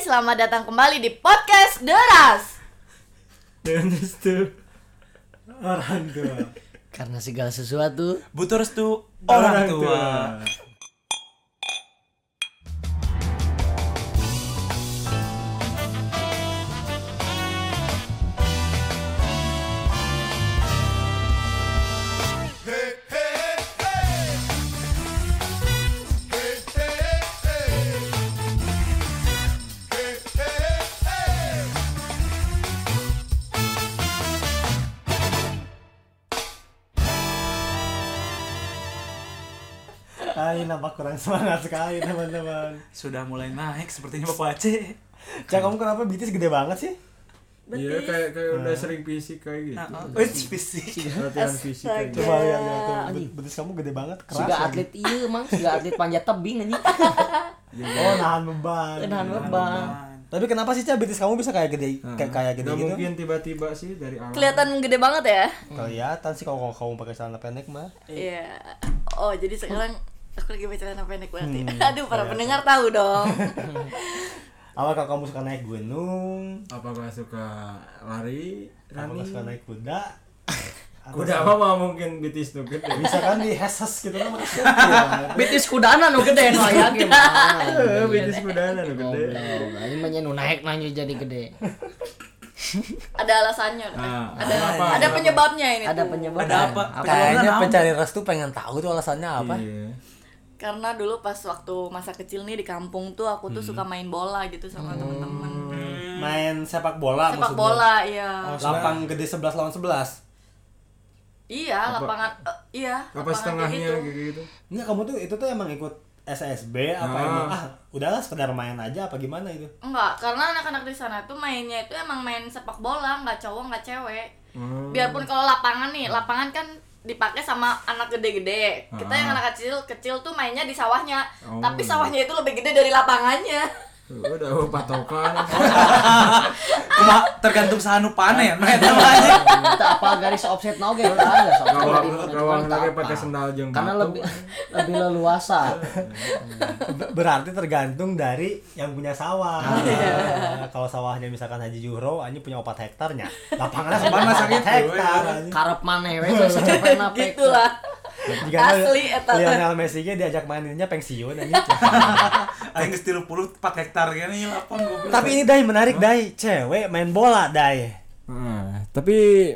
selamat datang kembali di podcast Deras. Dengan restu orang tua. Karena segala sesuatu Butuh restu orang tua. Hai, nampak kurang semangat sekali teman-teman. Sudah mulai naik sepertinya Bapak Aceh. Cak, kamu kenapa BTS gede banget sih? Iya kayak kayak udah Nah. sering fisik kayak gitu. Nah, oh, it's fisik. Latihan fisik kayak gitu. Coba lihat lihat Iya. ya, tuh, bet- betis kamu gede banget, keras. Sudah lagi. atlet iya emang Sudah atlet panjat tebing anjing Iya. Oh, nahan beban. Nahan beban Tapi kenapa sih Cak betis kamu bisa kayak gede kayak kayak gede Hmm. Nggak gitu? mungkin tiba-tiba sih dari awal. Kelihatan gede banget Iya. ya? Kelihatan sih kalau kalau kamu pakai celana pendek mah. Iya. Oh, jadi sekarang aku lagi bicara apa pendek berarti. Hmm, Aduh, para iya, pendengar tahu dong. Apa kalau kamu suka naik gunung? Apakah suka lari, Apa running? suka naik kuda? Atau Kuda apa mah mungkin BTS tuh gede. bisa kan di heses gitu kan pakai Iya. sirkuit. Bitis kudanan nu gede nu aya ge Eh, BTS kudana tuh gede. Ini mah nya nu naik nah nya jadi gede Ada alasannya. Nah, ada kenapa? ada penyebabnya ini. Ada tuh. penyebab Ada apa? Kayaknya pencari restu pengen tahu tuh alasannya apa. Iya. Karena dulu pas waktu masa kecil nih di kampung tuh aku Hmm. tuh suka main bola gitu sama temen-temen. Hmm. Main sepak bola Sepak maksudnya. bola, iya. Lapang gede 11 lawan 11. Iya, lapangan eh, iya. Apa lapangan setengahnya kayak kayak gitu? Enggak, kamu tuh itu tuh emang ikut SSB apa Ah. emang ah udahlah sekedar main aja apa gimana gitu. itu? Enggak, karena anak-anak di sana tuh mainnya itu emang main sepak bola, nggak cowok, nggak cewek. Oh, Biarpun kalau lapangan nih, lapangan kan dipakai sama anak gede-gede. Kita Ah. yang anak kecil, kecil tuh mainnya di sawahnya. Oh. Tapi sawahnya itu lebih gede dari lapangannya. Tuh, Udah oh, patokan. Cuma tergantung sahanu panen. Nah, itu aja. Kita apa garis offset nau ge udah ada soalnya Gawang jadi menentukan gawang tak lagi apa. pakai sendal jeng. Karena batu. lebih lebih leluasa Be- Berarti tergantung dari yang punya sawah. Nah, Kalau sawahnya misalkan Haji Juhro, anjing punya 4 hektarnya. Lapangannya Apaan sebanyak masaknya 4 hektar. anjing. Karep maneh we secepet Gitulah. Jika Asli, eta. Lionel Messi nya diajak maininnya pensiun anjing. Aing geus 30 4 hektar kayaknya ieu lapang goblok. Tapi ini Dai menarik Dai, cewek main bola Dai. Nah, tapi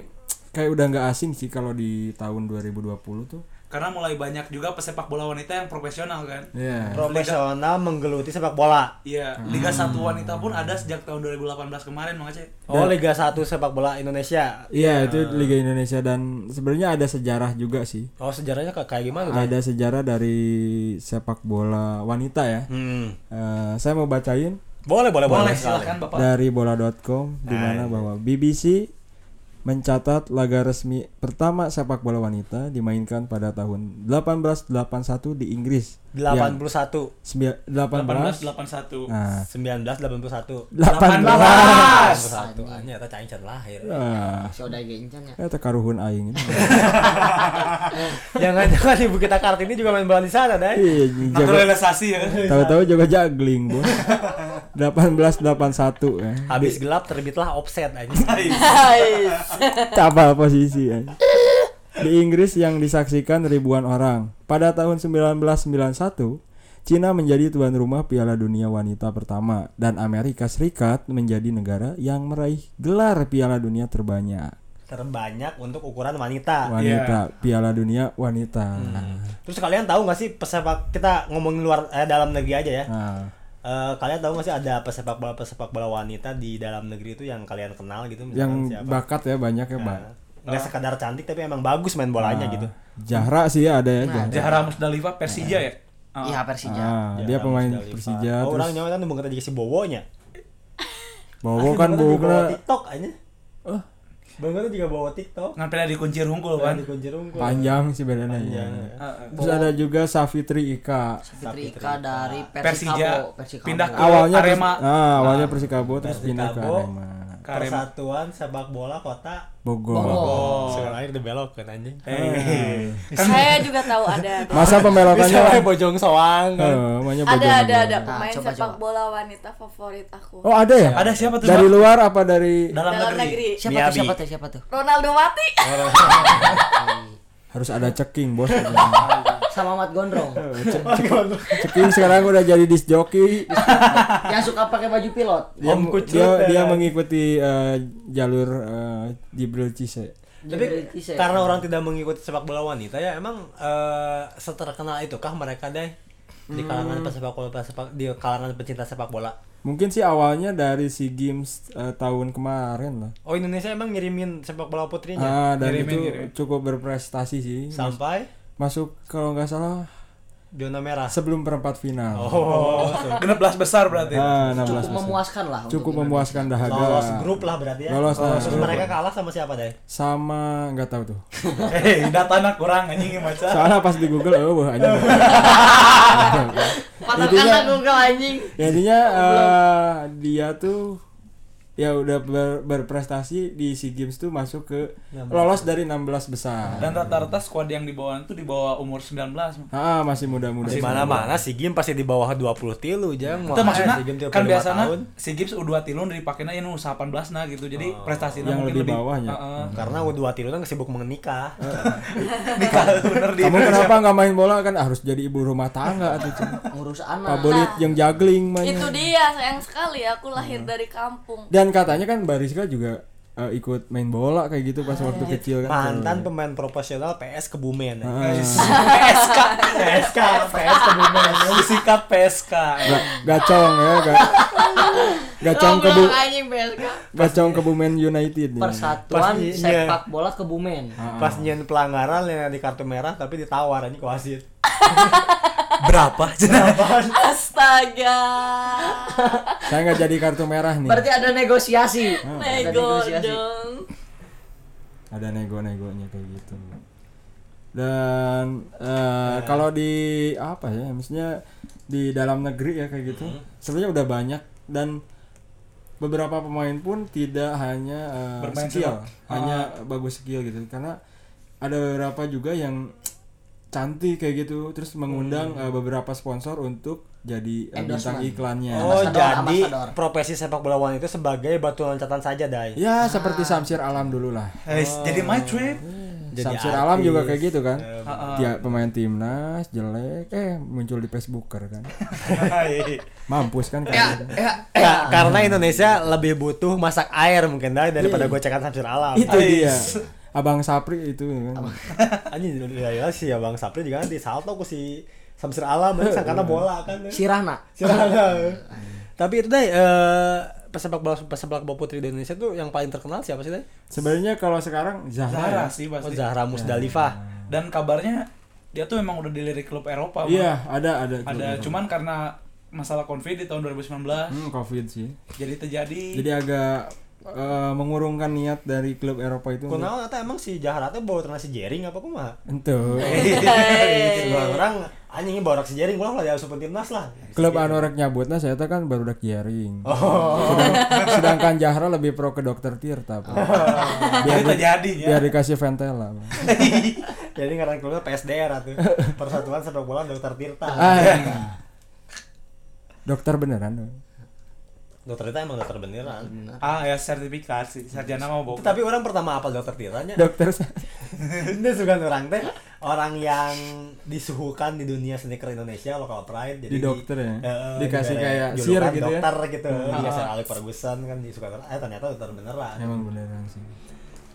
kayak udah nggak asing sih kalau di tahun 2020 tuh. Karena mulai banyak juga pesepak bola wanita yang profesional kan. Iya. Profesional menggeluti sepak bola. Iya, Liga 1 wanita pun ada sejak tahun 2018 kemarin, Mang Aceh. Oh, Liga 1 sepak bola Indonesia. Iya, itu Liga Indonesia dan sebenarnya ada sejarah juga sih. Oh, sejarahnya kayak kayak gimana Dai? ada sejarah dari sepak bola wanita ya. Hmm. Eh, saya mau bacain Boleh, boleh, boleh. Boleh, silakan Bapak. dari bola.com di mana bahwa BBC mencatat laga resmi pertama sepak bola wanita dimainkan pada tahun 1881 di Inggris. 81 Sembi- 18 1881. Nah, 18. 1981 81 anjir eta cai lahir. Ah, Sudah gencan ya. eh tekaruhun aing ini. Jangan-jangan ibu kita Kartini juga main bola di sana, Dai. Iya, jago- Naturalisasi ya. tahu-tahu jago jagling, Bos. 1881 ya. Habis gelap terbitlah offset anjing. Cabal posisi ya. Di Inggris yang disaksikan ribuan orang. Pada tahun 1991, Cina menjadi tuan rumah Piala Dunia Wanita pertama dan Amerika Serikat menjadi negara yang meraih gelar Piala Dunia terbanyak. Terbanyak untuk ukuran wanita. Wanita, iya. Piala Dunia Wanita. Terus kalian tahu nggak sih pesepak kita ngomongin luar eh, dalam negeri aja ya. Nah, Eh, kalian tahu nggak sih ada pesepak bola pesepak bola wanita di dalam negeri itu yang kalian kenal gitu yang misalkan siapa? bakat ya banyak ya, Pak. Nggak sekadar cantik tapi emang bagus main bolanya Nah. gitu. Nah, Zahra sih ya ada ya. Zahra. Zahra Musdalifah Persija ya. Iya Persija. Ah, dia Jarang pemain sekali, Pak. Persija Oh, terus orang nyawa kan bukan tadi si Bowonya. Bowo kan Bowo Ah, bawa kena TikTok aja. Oh. Bang Gota juga bawa TikTok. Ngambil ada kuncir hunggul kan. Di kunci rungkul. panjang sih badannya. Panjang, ya. ya. Terus ada juga Safitri Ika. Fitri Ika dari Persija Persikabo. Persikabo. pindah ke Awalnya Arema. Pers- ah, awalnya Persikabo terus pindah ke Persikabo. Arema. Karem- Persatuan Sepak Bola Kota Eh. Bogor. Sekarang air dibelokin kan, anjing. Kan Saya juga tahu ada. Masa pembelokannya Siapa yang Bojong Soang. Eh, namanya Ada Bogor. ada ada pemain coba, sepak coba. bola wanita favorit aku. Oh ada ya? Ada siapa tuh? Dari Bang? luar apa dari dalam, Dalam negeri. negeri. Siapa tuh? Miabi. Siapa tuh? Siapa tuh? Ronaldo mati. harus ada ceking bos? Sama Mat Gondrong. ceking sekarang udah jadi disc jockey. yang suka pakai baju pilot. Dia, Om Kucut dia, ya. dia mengikuti eh, jalur eh, Jibril Cisse. Tapi Jadi Tise. karena orang tidak mengikuti sepak bola wanita ya emang eh, seterkenal itukah mereka deh di kalangan pesepak bola pesepak di kalangan pecinta sepak bola. Mungkin sih awalnya dari si games eh, tahun kemarin lah. Oh Indonesia emang ngirimin sepak bola putrinya Ah, dan Ngirimin, itu ngirimin. cukup berprestasi sih. Mas- sampai Masuk kalau nggak salah zona merah. sebelum perempat final. Oh, Genep belas besar berarti. Ah, 16 cukup besar. memuaskan lah. untuk Cukup Indonesia. memuaskan dahaga. lolos grup lah berarti ya. Lolos, Oh, lolos terus grup. mereka kalah sama siapa deh? Sama nggak tahu tuh. Hei, data Eh, anak kurang anjing maca. Soalnya pas di Google oh wah anjing. Patahkan lah Google anjing. Ya, intinya eh, dia tuh ya udah ber- berprestasi di SEA Games tuh masuk ke lolos dari 16 besar. Dan rata-rata squad yang dibawa itu di bawah umur 19. Ah, masih muda-muda. Di semua. mana-mana si Gim pasti di bawah 20 tilu jang. Itu maksudnya Si Gim 35 kan biasanya tahun. si Gibbs U2 tilun dipakainya yang U18 nah gitu. Jadi prestasinya Yang mungkin lebih bawahnya. Heeh. karena U2 tilu kan sibuk menikah. Nikah Hmm. bener di Kamu Indonesia. kenapa nggak main bola kan harus jadi ibu rumah tangga atau Ngurus anak. Pabolit yang juggling Nah, mainnya. Itu dia sayang sekali aku lahir Hmm. dari kampung. Dan katanya kan Bariska juga eh, ikut main bola kayak gitu Ah, pas iya. waktu kecil kan. Mantan pemain profesional PS Kebumen. ya. Ah, PSK. PSK, PS Kebumen. Sikat PSK. ga- gacong ya, ga- gacong kebu Longlong anjing BSK. gacong kebumen United. ya. Persatuan Pasti, iya. sepak bola kebumen. Nah, Pas hmm. nyen pelanggaran yang di kartu merah tapi ditawar ini ke wasit. Berapa? Berapa? Astaga. Saya nggak jadi kartu merah nih. Berarti ada negosiasi. Iya. Ada Nego dong. ada nego-negonya kayak gitu dan eh, kalau di apa ya misalnya di dalam negeri ya kayak gitu sebenarnya udah banyak dan beberapa pemain pun tidak hanya eh, Bermain skill sepak. hanya bagus skill gitu karena ada beberapa juga yang cantik kayak gitu terus mengundang eh, beberapa sponsor untuk jadi eh, bintang Endorsement. iklannya Oh, Ambassador, jadi ambassador. profesi sepak bola wanita itu sebagai batu loncatan saja, Dai. ya seperti Samsir Alam dulu lah Eh, jadi my trip. Jadi Samsir artis. Alam juga kayak gitu kan. Heeh. Dia pemain timnas jelek eh muncul di Facebooker kan. Iya. Mampus kan kan. Eh, Ka- karena Indonesia lebih butuh masak air mungkin Dai daripada Iya. gocekan samsir alam. Itu dia. Abang Sapri itu kan. Anjing ya, ya si Abang Sapri juga nanti salto ku si samsir alam ini sangkana bola kan. Si Rahna. Silakan. Tapi itu deh eh, pesepak bola pesepak bola putri di Indonesia tuh yang paling terkenal siapa sih deh? Sebenarnya kalau sekarang Zahra. Zahra ya. sih Oh, pasti. Zahra Musdalifah. Dan kabarnya dia tuh emang udah dilirik klub Eropa. Bang. Iya, ada ada Ada cuman karena masalah Covid di tahun 2019 Hmm, Covid sih. jadi terjadi Jadi agak eh, mengurungkan niat dari klub Eropa itu. untuk- Kenal atau emang si Zahra tuh bawa ternak si Jering apa kumaha? Entuh. Eh. Orang orang anjingnya bawa orang si Jering ulah lah ya asupan timnas lah. Klub anu rek nyabutna saya teh kan baru dak jaring. Sedang- sedangkan Zahra lebih pro ke dokter Tirta. Pak. jadi terjadi ya. Biar dikasih Ventela. Pak. Jadi ngaran keluar PSDR tuh. Persatuan Sepak Bola Dokter Tirta. Ah. Dokter beneran. Dokter Tirta emang dokter beneran. Ah ya sertifikat sih, sarjana mau bohong. Hmm. Tapi orang pertama apal Dokter Tirtanya. Dokter Ini suka orang teh orang yang disuhukan di dunia sneaker Indonesia local pride jadi Di dokter ya? Heeh, Dikasih diberi kayak julukan sir gitu ya? Ah. dokter gitu Iya, Sir Ali Ferguson kan disuka orang eh ternyata dokter beneran emang beneran sih.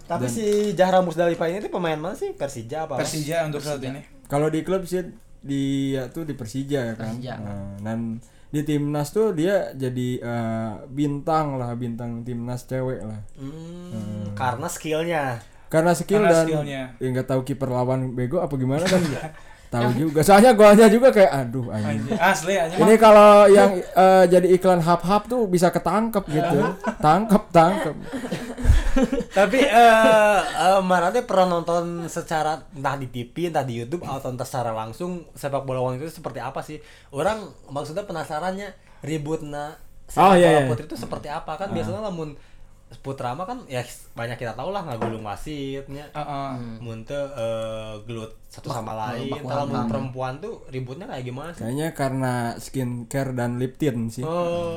tapi si Zahra Musdalifah ini tuh pemain mana sih Persija apa Persija untuk saat ini. Kalau di klub sih dia tuh di Persija ya kan. Persija. Nah, dan di timnas tuh dia jadi eh, bintang lah, bintang timnas cewek lah. Hmm, karena skillnya Karena skill Karena dan skillnya. ya nggak tahu kiper lawan bego apa gimana kan tahu juga. Soalnya golnya juga kayak aduh anjing. Anjing. Asli aja Ini kalau yang eh, jadi iklan hap-hap tuh bisa ketangkep gitu. tangkep, tangkep. tapi eh eh, Mara teh pernah nonton secara entah di TV entah di YouTube atau entah secara langsung sepak bola wanita itu seperti apa sih orang maksudnya penasarannya ributna Oh, sepak iya, bola iya. Ah. putri itu seperti apa kan biasanya lamun Putrama kan ya banyak kita tahu lah ngagulung wasitnya. Heeh. Munte eh, gelut satu sama lain. Kalau mun perempuan tuh ributnya kayak gimana sih? Kayaknya karena skincare dan lip tint sih. Oh,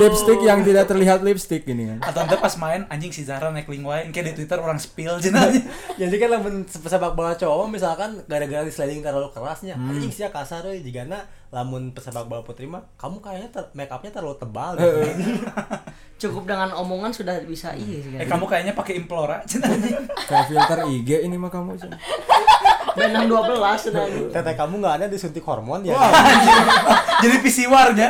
Lipstick yang tidak terlihat lipstick ini kan. Atau nanti pas main anjing si Zara naik lingwain kayak di Twitter orang spill jenanya. jadi kan lamun sepak bola cowok misalkan gara-gara di sliding terlalu kerasnya, anjing sih ya, kasar euy jigana lamun pesepak bola putri mah kamu kayaknya ter- make upnya terlalu tebal gitu. Cukup dengan omongan sudah bisa iya sih. eh kamu kayaknya pakai implora jenanya. Kayak filter IG ini mah kamu. Cen. Benang 12 sudah. Teteh kamu nggak ada disuntik hormon ya? Jadi pisiwarnya.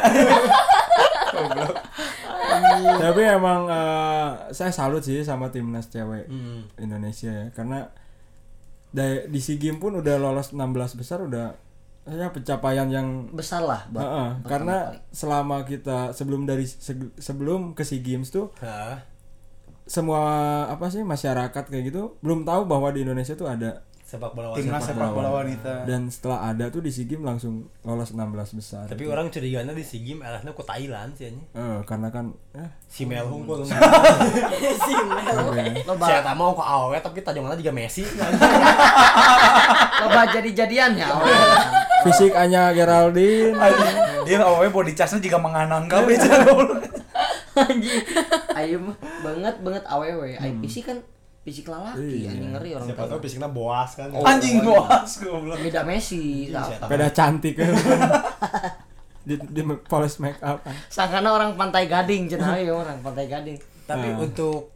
Tapi emang eh, saya salut sih sama timnas cewek Hmm. Indonesia ya karena da- di SEA Games pun udah lolos 16 besar udah ya pencapaian yang Besar lah, Bang. Heeh, karena selama kita sebelum dari seg- sebelum ke SEA Games tuh Hah? semua apa sih masyarakat kayak gitu belum tahu bahwa di Indonesia tuh ada Sepak bola wanita. Timnas sepak bola wanita. dan setelah ada tuh di SEA Games langsung lolos 16 besar. Tapi orang curiganya di SEA Games elahnya ku Thailand sih anjing. Hmm. Eh, karena kan eh, Si Mel hukum. iya. Loba, Saya tak mau ke awe tapi tajamnya juga Messi. loba jadi-jadian ya. awalnya. fisik hanya Geraldine. Dia awalnya body charge-nya juga menganang kabeh Anjing. Ayo mah banget banget awewe. Ayo fisik kan fisik lalaki Iya. anjing ngeri orang Siapa tua. tahu fisiknya boas kan. Anjing goas goblok. Beda Messi. Iya, Beda cantik kan. di, di polis make up. Sangkana orang Pantai Gading cenah ya orang Pantai Gading. Tapi untuk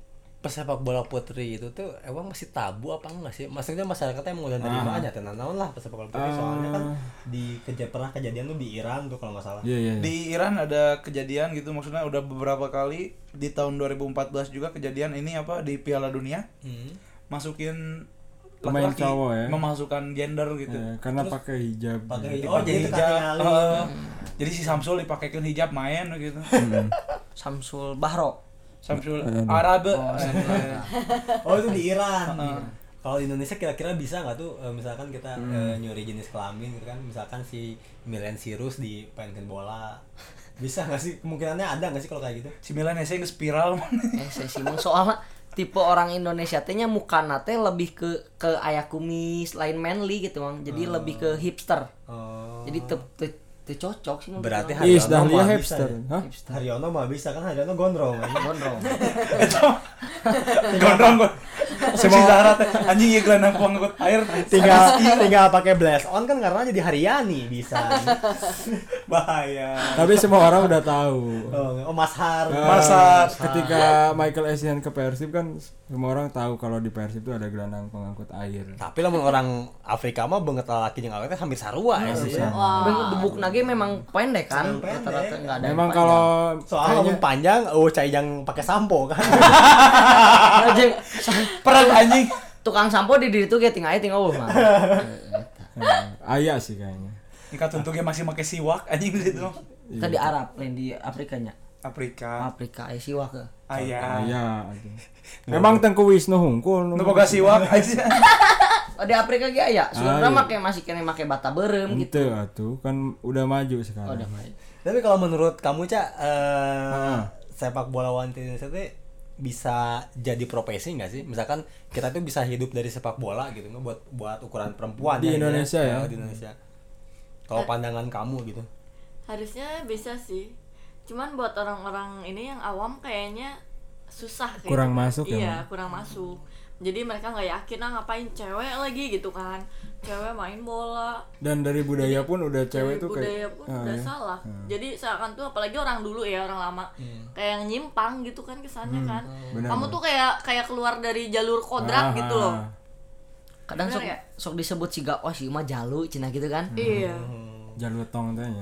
pesepak bola putri itu tuh emang masih tabu apa enggak sih? Maksudnya masyarakatnya emang udah nerima aja tenan naon lah pesepak bola putri soalnya kan di keja pernah kejadian tuh di Iran tuh kalau nggak salah. Iya, iya. iya. Di Iran ada kejadian gitu maksudnya udah beberapa kali di tahun 2014 juga kejadian ini apa di Piala Dunia. Hmm. Masukin Pemain laki-laki, cowok ya. memasukkan gender gitu. Eh, karena pakai hijab. Iya. Pakai hijab. Oh, jadi Itu hijab. kardinali. eh, jadi si Samsul dipakaikan hijab main gitu. Hmm. Samsul Bahro. Samsul Iya, Iya. Arabe. Oh itu di Iran. Kalau di Indonesia kira-kira bisa nggak tuh eh, misalkan kita eh, nyuri jenis kelamin gitu kan misalkan si Milen Sirus di pengen bola bisa nggak sih kemungkinannya ada nggak sih kalau kayak gitu? si Milan ya saya spiral. Eh saya Simon soalnya tipe orang Indonesia teh nya mukana teh lebih ke ke ayah kumis lain manly gitu mang. Jadi lebih ke hipster. Oh. Jadi te, te- te cocok sih menurut Berarti orang. Haryono Is Dahlia mah bisa hipster. ya? Hah? hipster. Haryono mah bisa kan Haryono gondrong. kan? Gondrong. Gondrong gue. Si Zahra teh anjing ya gelandang puang ikut air. tinggal tinggal pakai blast on kan karena jadi Haryani bisa. Bahaya. Tapi semua orang udah tahu. Oh, oh, Mas Har. Eh, Mas ketika Michael Essien ke Persib kan semua orang tahu kalau di Persib itu ada gelandang pengangkut air. Tapi lah mun orang Afrika mah banget laki yang awetnya hampir sarua Iya, ya sih. Wow. Bubuk nage memang pendek kan, rata-rata nggak ada. yang Memang panjang. kalau Soalnya lamun panjang, oh cai yang pakai sampo kan. Ah, jeung Perang anjing. tukang sampo di ditu ge ting aya ting eueuh mah. Iya. eh, ayah sih kayaknya. Ika tuntungnya masih pakai siwak anjing gitu. di Iya. situ. Kita di Arab, lain di Afrika nya. Afrika. Afrika aya siwa ke. Ayah. Ayah. aja. Iya, Memang Tengku Wisnu hungkul. nu- Nu boga siwak aja. Oh, di Afrika ge aya. Ah, Sudah iya. Hmm. mah kayak masih kene make bata beureum gitu. Ente atuh kan udah maju sekarang. Udah mah. Tapi kalau menurut kamu Ca, eh, Heeh. sepak bola wanita Indonesia tuh bisa jadi profesi nggak sih? Misalkan kita tuh bisa hidup dari sepak bola gitu nggak buat buat ukuran perempuan Di ya, Indonesia ya? Eh. Di Indonesia. Kalau pandangan kamu gitu. Harusnya bisa sih. Cuman buat orang-orang ini yang awam kayaknya susah kayak Kurang gitu. masuk ya, Iya, Mak? kurang masuk. Jadi mereka nggak yakin ah ngapain cewek lagi gitu kan. Cewek main bola. Dan dari budaya pun udah cewek Dari tuh budaya kayak pun Ah, udah ya. salah. Jadi seakan tuh apalagi orang dulu ya, orang lama. Kayak yang nyimpang gitu kan kesannya kan. Hmm. benar, Kamu tuh kayak kayak keluar dari jalur Ah, kodrat gitu loh. ah. Kadang Bener sok ya? sok disebut siga oh si mah jalu cina gitu Hmm. kan. Iya. Jalur tong tanya.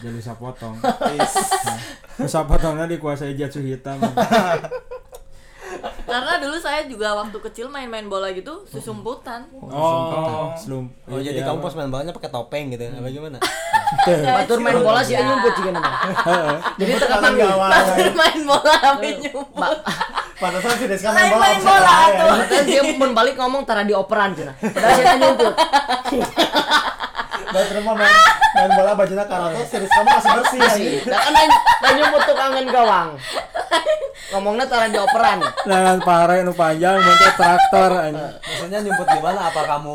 Jalur sapotong. Nah, sapotongnya dikuasai jatuh hitam. Karena dulu saya juga waktu kecil main-main bola gitu susumputan. Oh, selum. Oh jadi kamu pas main bolanya pakai topeng gitu? Hmm. Apa gimana? Batur main bola Iya, sih nyumput juga namanya. Jadi terkadang Pasir main bola tapi nyumput. Pantesan sih Deska Main main bola ya. tuh. gitu. Makanya dia pun balik ngomong tara dioperan cenah. Padahal saya nyumput. Dari rumah main, main bola bajina karate, serius kamu masih bersih ya ini. Nah, kan nanya, nanya butuh kangen gawang. Ngomongnya tara dioperan. Dengan pare nu panjang bentuk traktor anjing. Maksudnya nyumput di mana? Apa kamu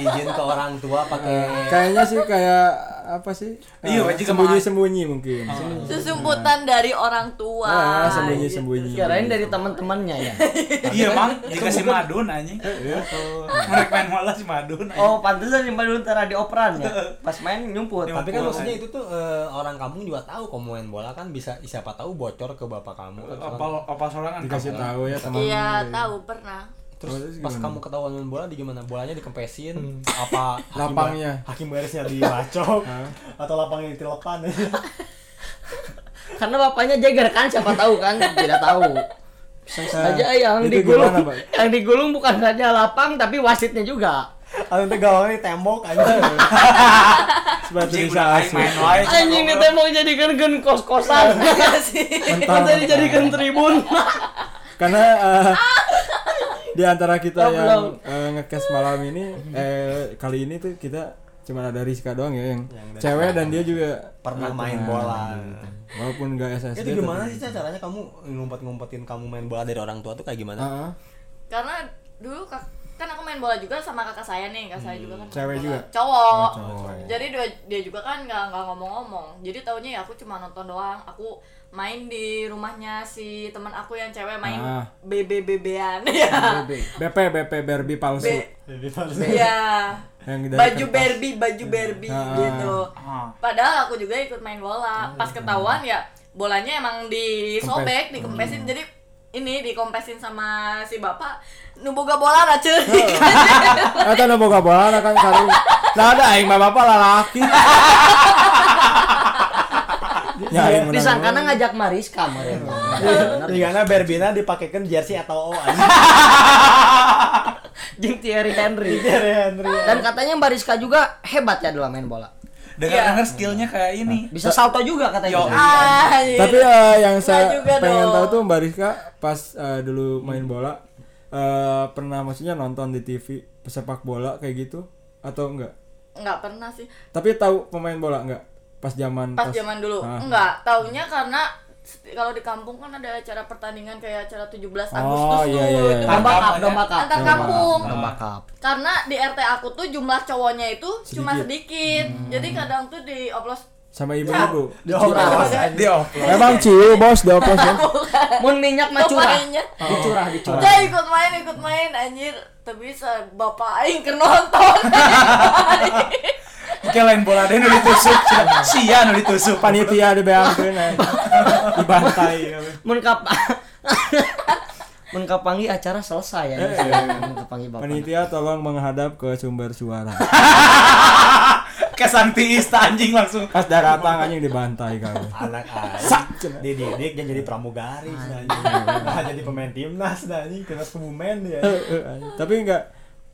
izin ke orang tua pakai Kayaknya sih kayak apa sih? Eh, Iya, wajib sama- sembunyi-sembunyi mungkin. Susumputan dari orang tua. Ah, sembunyi-sembunyi. Kirain dari teman-temannya ya. Iya mang, dikasih madun anjing. Mereka main bola si madun. anjing. Oh, pantesan yang baru tara dioperan ya. Pas main nyumput. tapi kan maksudnya itu tuh eh, orang kampung juga tahu kamu main bola kan bisa siapa tahu bocor ke bapak kamu kan. Apa apa sorangan? Dikasih kamu. tahu ya teman. Iya, tahu pernah. terus Hmm. Terus pas gimana? kamu ketahuan main bola di gimana bolanya dikempesin apa hakim Lapangnya. ba- hakim barisnya dibacok atau lapangnya ditilepan Karena bapaknya jagar kan siapa tahu kan? Tidak tahu. Bisa saja yang itu digulung. gimana, Pak? yang digulung bukan saja lapang tapi wasitnya juga. atau nanti gawangnya di tembok aja Sebab Anjing bisa udah aing asli. main wae. Anjing di tembok jadikan gen kos-kosan. Kan tadi jadikan tribun. Karena eh, di antara kita Oh, yang belum. eh, ngecast malam ini eh kali ini tuh kita cuma ada Rizka doang ya yang, cewek dan dia juga pernah main bola walaupun nggak SSD. itu gimana tetap- sih Ca, caranya kamu ngumpet-ngumpetin kamu main bola dari orang tua tuh kayak gimana Ah, ah. Karena dulu kak- kan aku main bola juga sama kakak saya nih, kakak saya juga kan. main Cewek bola. juga? Cowok. iya. cowok. Jadi dia, dia juga kan nggak nggak ngomong-ngomong. Jadi taunya ya aku cuma nonton doang. Aku main di rumahnya si teman aku yang cewek main Ah. BBBB-an ya. BP BP Barbie palsu B- Jadi pas- Ya. Iya. yang dari Baju kertas. Barbie, baju Barbie Ah. gitu. Ah. Padahal aku juga ikut main bola. Pas iya. ketahuan ya bolanya emang Hmm. disobek, dikempesin. Jadi ini dikompesin sama si bapak nuboga bola racun. iya. Eta nu Ah, boga bola kan sarung. Nah ada aing mah bapak lalaki. ya aing menang. Disangkana ngajak Mariska kemarin. Bener. Di mana Iya, Berbina dipakaikan jersey atau O Jeung Thierry Henry. Iya, Henry. Dan katanya Mariska juga hebat ya dalam main bola. Dengar dengar skillnya kayak ini. Bisa salto juga katanya. Yo. Bisa. Ah, iya. Tapi eh, yang saya juga pengen dong. tahu tuh Mbak Rizka pas eh, dulu main bola eh, pernah maksudnya nonton di TV pesepak bola kayak gitu atau enggak? nggak pernah sih. Tapi tahu pemain bola enggak? Pas zaman Pas zaman dulu Ah. nggak. Taunya karena seti- kalau di kampung kan ada acara pertandingan kayak acara 17 Oh, Agustus gitu. tuh. iya, iya, Itu iya. Domba antar- cup, domba cup. antar kampung. Domba cup. Karena di RT aku tuh jumlah cowoknya itu cuma sedikit. Hmm. Jadi kadang tuh dioplos sama ibu-ibu. Dioplos. Dia off. Memang ciu bos dioplos ya. Mun minyak mah curah. Pemainnya. Oh. Dicurah, dicurah. Udah ikut main, ikut main anjir. Tapi sa- bapak aing ke nonton. Oke lain bola deh nu ditusuk. Sia nu ditusuk. Panitia di beangkeun aing. dibantai. Mun kap Mun kapangi acara selesai ya. Mun kapangi bapak. Panitia tolong menghadap ke sumber suara. Kesan tiista anjing langsung. Pas daratang anjing dibantai kamu. Anak aja. Dididik yang jadi pramugari nah, nah, jadi pemain timnas nah ini timnas kebumen ya. Eh, eh, anjing. Tapi enggak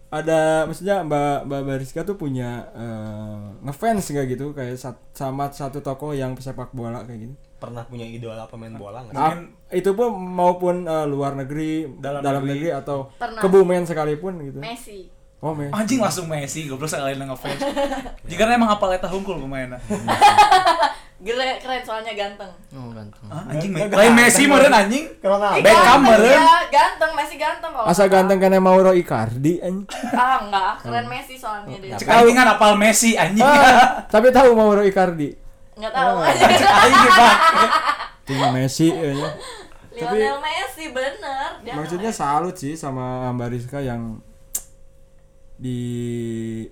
ada maksudnya Mbak Mbak Bariska tuh punya eh, ngefans enggak gitu kayak sat- sama satu tokoh yang pesepak bola kayak gitu. Pernah punya idola pemain bola nggak? Nah, itu pun maupun eh, luar negeri, dalam, negeri. atau Pernah. kebumen sekalipun gitu. Messi. Oh, men. Anjing langsung Messi, goblok sekali nang ngefans. Jika emang apa leta hungkul pemainnya. Gere, keren soalnya ganteng. Oh, ganteng. Ah, anjing Me- lain Messi meureun anjing. Ah, Karena Eh, ganteng Beckham meren. ya, ganteng, Messi ganteng kalau. Asa nggak ganteng Hmm. kena Mauro Icardi anjing. salah. Ah, enggak, keren Messi soalnya dia. Cek aing kan apal Messi anjing. Iya. Ah, tapi tahu Mauro Icardi. Enggak tahu. Aing gebak. Tim Messi ya. Lionel Messi bener. Dia maksudnya salut sih sama Mbak Rizka yang di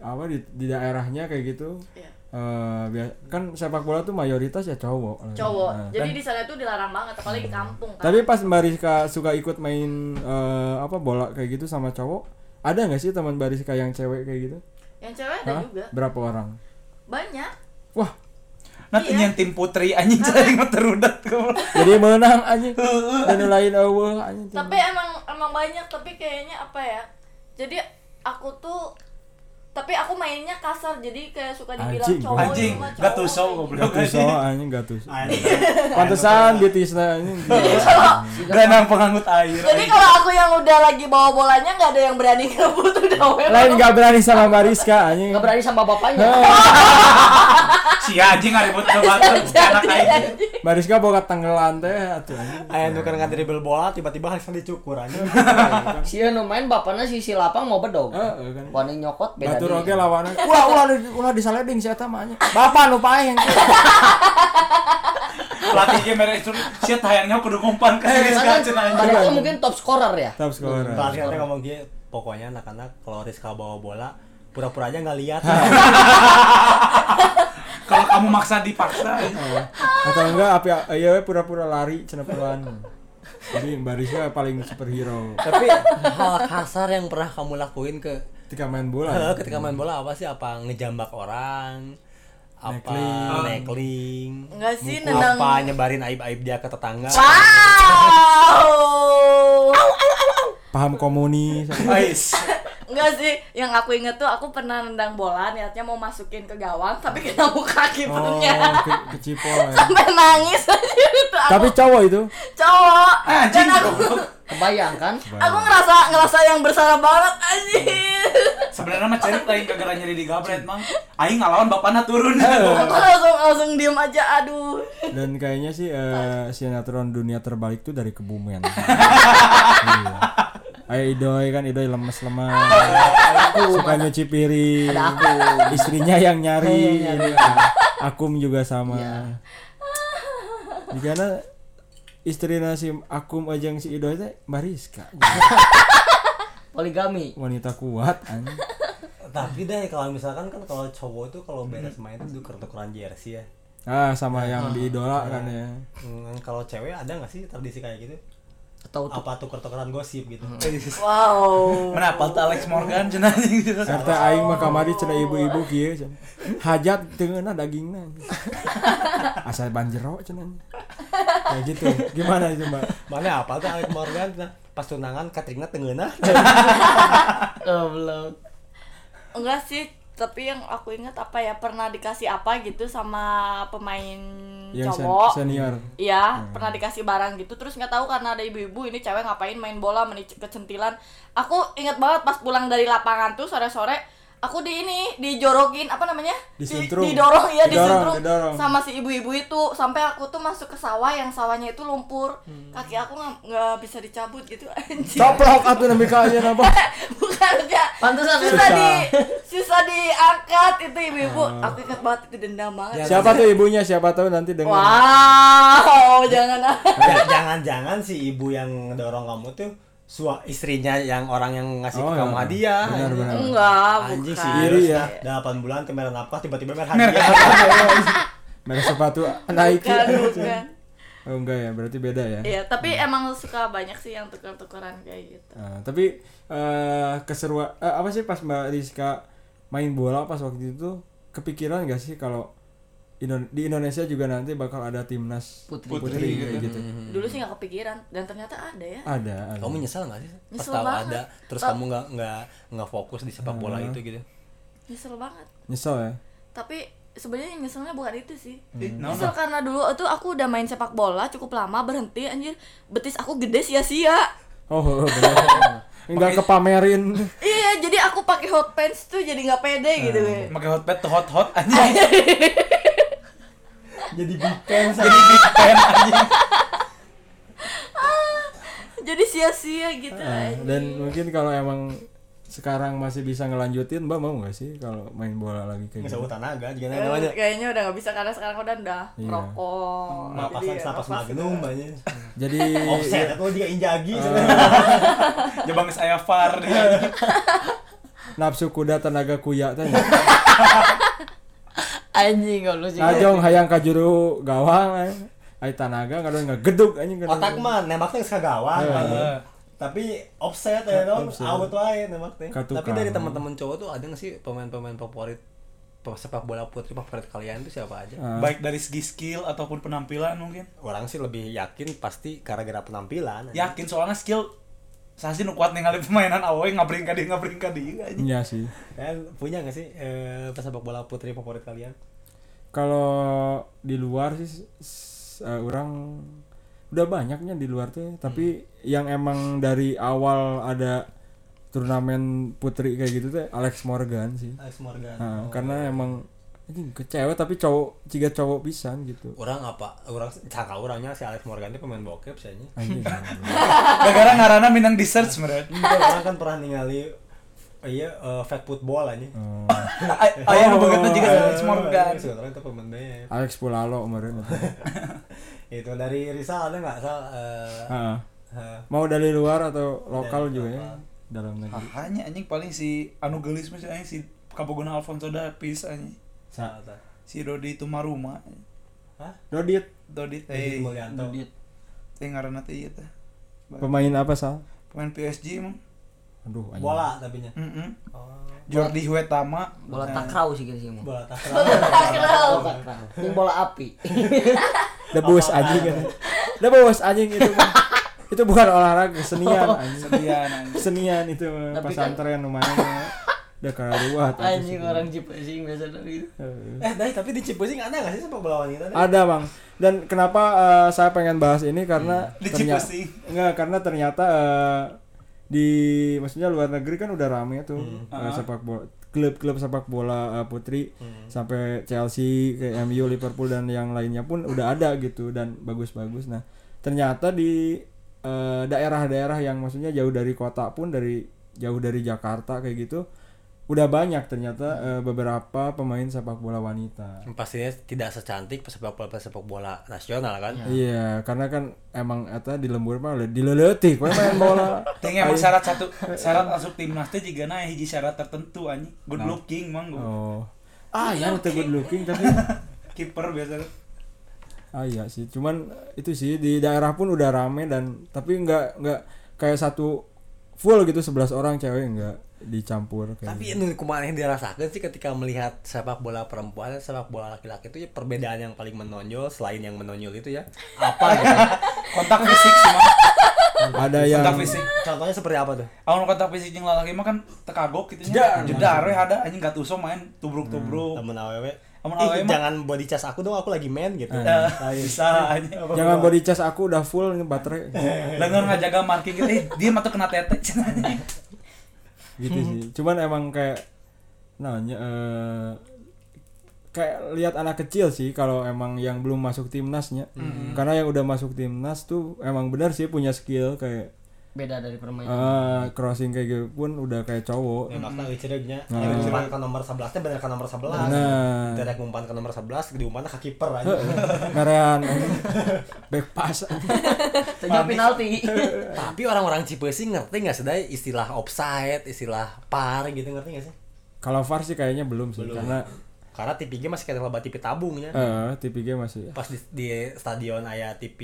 apa di, di daerahnya kayak gitu Iya. Eh, bia- kan sepak bola tuh mayoritas ya cowok cowok. Nah. Jadi di sana tuh dilarang banget apalagi di kampung kan. tapi pas Mbak Rizka suka ikut main eh, apa bola kayak gitu sama cowok ada nggak sih teman Mbak Rizka yang cewek kayak gitu Yang cewek ada Hah? juga. berapa orang Banyak. wah Nanti Iya. nyen tim putri anjing cari ngeterudat jadi menang anjing dan lain awal anjing tapi emang emang banyak tapi kayaknya apa ya jadi aku tuh tapi aku mainnya kasar jadi kayak suka dibilang Anjing, cowok Anjing, itu mah cowok gitu. gak tuh show goblok Tusol anjing. anjing gak tusol. Ayo. Pantesan dia tisna anjing. Berenang pengangkut air. jadi kalau aku yang udah lagi bawa bolanya nggak ada yang berani ngebut udah we Lain gak berani sama Mariska anjing. Nggak berani sama bapaknya. Si anjing ngaribut ke batu anak air. Mariska boga tenggelan teh atuh anjing. Aya nu keur ngadribel bola tiba-tiba Hasan dicukur anjing. Si anu main bapaknya si si lapang mau bedog. Heeh kan. Wani nyokot beda Batur deui. oge lawanan. Ulah ulah di- ulah disaleding si eta mah anjing. Bapak nu paeng. Pelatihnya merek itu shit hayangnya kudu ngumpan ke Eh, Karena Rizka kan Cina anjing. padahal mungkin top scorer ya. Top scorer. Pelatih katanya ngomong gitu, pokoknya anak-anak kalau Rizka bawa bola pura-pura aja nggak lihat. Kalau kamu maksa dipaksa. anjing. Atau enggak api iya we pura-pura lari cenah pelan. Jadi Mariska paling superhero Tapi hal kasar yang pernah kamu lakuin ke ketika main eh, bola. ketika main bola apa sih? Apa ngejambak orang? Apa Nekling. nekling? Enggak sih, mukul nendang- Apa nyebarin aib-aib dia ke tetangga? wow Paham komunis. Ais. Enggak sih, yang aku inget tuh aku pernah nendang bola niatnya mau masukin ke gawang tapi kena muka Oh, kipernya. ke, kecipol. ya. Sampai nangis aja itu aku Tapi cowok itu cowok. Eh, Anjing. Dan aku goblok. Kebayang kan? aku ngerasa ngerasa yang bersalah banget anjir. Sebenarnya mah cerit lain kagak nyari di gabret mang. Aing ngalawan bapakna turun. Aku langsung langsung diem aja aduh. dan kayaknya sih eh, sinetron dunia terbalik tuh dari Kebumen. iya. Ayo Idoy kan Idoy lemes lemas. Suka nyuci piring. Ada aku. Istrinya yang nyari. Iya, ini. Akum juga sama. Iya. Jika istri si Akum aja yang si Idoy teh Mariska. Poligami. Wanita kuat anjing. Tapi deh kalau misalkan kan kalau cowok tuh kalau beres main tuh tuker-tukeran jersey ya. Ah Iya. sama yang diidolakan ya. Hmm, kalau cewek ada nggak sih tradisi kayak gitu? Oh, Atau tuh Apa tuker-tukeran gosip gitu? Hmm. Wow. Kenapa tuh Alex Morgan cenah anjing. Serta aing mah kamari cenah ibu-ibu kieu cenah. Hajat teu euna dagingna. Asal banjero cenah. Kayak gitu. Gimana itu, Mbak? Mana apa tuh Alex Morgan nah, pas tunangan Katrina tengenah. goblok. Enggak sih, tapi yang aku inget apa ya pernah dikasih apa gitu sama pemain Yang sen- cowok. senior. Iya, pernah dikasih barang gitu terus nggak tahu karena ada ibu-ibu ini cewek ngapain main bola menici kecentilan. Aku inget banget pas pulang dari lapangan tuh sore-sore aku di ini dijorokin apa namanya? Di- Disetrum. didorong ya Didorong, disetrum didorong. sama si ibu-ibu itu sampai aku tuh masuk ke sawah yang sawahnya itu lumpur. Kaki aku nggak- nggak bisa dicabut gitu anjing. Coplok atuh demi ka ayeuna, Pak. Bukan ya. Pantesan susah di susah diangkat itu ibu-ibu. Aku inget banget itu dendam banget. Siapa tuh ibunya? Siapa tahu nanti dengar. Wow, jangan ah. Ja- Jangan-jangan si ibu yang dorong kamu tuh sua istrinya yang orang yang ngasih Oh, ke kamu iya. hadiah. Benar, anjing. benar. Enggak, Anjing si bukan. Iri Iya, ya. Dah 8 bulan kemarin nafkah tiba-tiba merek hadiah. Merek sepatu Nike. Bukan, bukan. Oh enggak ya, berarti beda ya. Iya, tapi emang suka banyak sih yang tukar-tukaran kayak gitu. Ah, tapi eh keseruan eh, apa sih pas Mbak Rizka main bola pas waktu itu kepikiran gak sih kalau Indo- di Indonesia juga nanti bakal ada timnas Putri. Putri, kayak gitu. Dulu sih nggak kepikiran dan ternyata ada ya. Ada, ada. Kamu nyesel nggak sih? Pas Nyesel tahu banget. ada, terus Tau- kamu nggak nggak nggak fokus di sepak bola Hmm. itu gitu. Nyesel banget. Nyesel ya? Tapi sebenarnya yang nyeselnya bukan itu sih. Ih, naon, Nyesel karena dulu tuh aku udah main sepak bola cukup lama berhenti anjir. Betis aku gede sia-sia. Oh, bener. Enggak kepamerin. Iya, jadi aku pakai hot pants tuh jadi nggak pede gitu. naon? Make Eh, hot pad tuh hot hot anjing. Jadi bikin Jadi big fan anjing. Jadi sia-sia gitu. Ah, dan mungkin kalau emang sekarang masih bisa ngelanjutin, Mbak mau gak sih kalau main bola lagi kayak nggak gitu? sebut tenaga juga Eh, namanya. kayaknya udah nggak bisa karena sekarang udah udah Iya. rokok. Jadi Napasan ya, napas napas. magnum banyak. Iya. Jadi Offset atau dia injagi. Ah. Jebang saya far ya. dia. nafsu kuda tenaga kuya teh. Iya. Anjing goblok sih. Najong hayang kajuru gawang eh. ai tanaga kadang ngegeduk anjing kadang. Otak mah nembaknya suka gawang. Ah. anjing. Tapi offset ya dong, out wae nembaknya. Katukan. Tapi dari teman-teman cowok tuh ada nggak sih pemain-pemain favorit pe- sepak bola putri favorit kalian tuh siapa aja? Baik dari segi skill ataupun penampilan mungkin. Ya. Orang sih lebih yakin pasti gara-gara penampilan. anjing. Yakin soalnya skill Sasi nu kuat ningali permainan awe ngabring ka dieu ngabring ka dieu anjing. Iya sih. Kalian punya nggak sih eh, pesepak bola putri favorit kalian? Kalau di luar sih s- s- eh, orang udah banyaknya di luar tuh, tapi yang emang dari awal ada turnamen putri kayak gitu tuh Alex Morgan sih. Alex Morgan. Ah. Nah, karena emang anjing ke cewek tapi cowok jika cowok pisan gitu. Orang apa? Orang sangka orangnya si Alex Morgan itu pemain bokep sih Anjing. Gara-gara ngaranna minang di search meureun. Enggak, orang kan pernah ningali eh, iya eh, fake football Iya, aja. Oh, Aya nu beungeutna jiga eh. Alex Morgan. Sebenarnya itu pemain bokep. Alex Pulalo kemarin. Itu dari Rizal ada nggak sal? eh, Ah, eh, mau dari luar atau lokal Dari juga ya? lokal. Dalam negeri. Hanya anjing paling si anu geulis mah si anjing si Kabogona Alfonso Davis anjing. Sal tuh. Si Dodi Tumaruma. Dodit Dodi Didi teh Mulyanto. teh ngaranna teh ieu teh. pemain apa sal? Pemain PSG emang. Aduh, anjing. Bola tapinya. Hmm. Heeh. Oh, Jordi Huetama. bola Eh, takraw sih gitu sih mau bola Bola takraw. takraw. bola takraw Ini bola api Debus anjing kan. Debus anjing itu. mah. itu bukan olahraga, kesenian anjing. Sedian anjing. Kesenian itu mah, Oh, Tapi kan- pesantren lumayan. Udah karuat anjing orang Jepang sih biasa gitu Eh, dari tapi di Cipusing ada nggak sih sepak bola wanita? Dai? Ada, Bang. Dan kenapa eh, saya pengen bahas ini karena Di ternyata Cipusing. enggak karena ternyata eh, di maksudnya luar negeri kan udah rame tuh eh, sepak bola klub-klub sepak bola eh, putri sampai Chelsea, ke MU, Liverpool dan yang lainnya pun udah ada gitu dan bagus-bagus. Nah, ternyata di eh, daerah-daerah yang maksudnya jauh dari kota pun dari jauh dari Jakarta kayak gitu udah banyak ternyata eh, beberapa pemain sepak bola wanita. pastinya tidak secantik sepak bola sepak bola nasional kan Iya, karena kan emang eta di lembur mah le- dileleutih we main bola. Teng emang syarat satu syarat masuk timnas teh jiga na hiji syarat tertentu anjing. Good looking mang gua. Nah. Oh. Ah, yang teu good looking tapi Kiper biasa tuh. ah iya sih. Cuman itu sih di daerah pun udah rame dan tapi nggak nggak kayak satu full gitu 11 orang cewek nggak dicampur kayak. tapi gitu. nu kumaha yang dirasakan sih ketika melihat sepak bola perempuan dan sepak bola laki-laki itu ya perbedaan yang paling menonjol selain yang menonjol itu ya apa gitu Kontak fisik sih mang. ada yang Kontak fisik. contohnya seperti apa tuh Awan kontak fisik jeung lalaki mah kan tekagok gitu nya. Jedar we ada anjing gatuso main Nah, tubruk-tubruk. temen aww Temen Ih, awewe mah. jangan body cas aku dong aku lagi main gitu Eh, Nah, iya. bisa anjing. jangan body cas aku udah full ini baterai Lengan ngajaga marking gitu. Eh, dia mah tuh kena tete cenah, anjing. gitu sih. Cuman emang kayak nanya eh kayak lihat anak kecil sih kalau emang yang belum masuk timnasnya. Karena yang udah masuk timnas tuh emang benar sih punya skill kayak beda dari permainan eh, crossing kayak gitu pun udah kayak cowok. Makna licernya Nah. Umpan ke nomor 11 nya bener ke nomor 11 Nah. Tidak umpan ke nomor 11 Diumpan ke kiper aja Ngarean back pass. sejak penalti Tapi orang-orang Cipeusih ngerti nggak sih Day? istilah offside, istilah par gitu ngerti nggak sih? kalau VAR sih kayaknya belum sih karena Karena TV-nya masih kayak lebat TV tabungnya. eh TPG masih Pas di, di stadion aya TV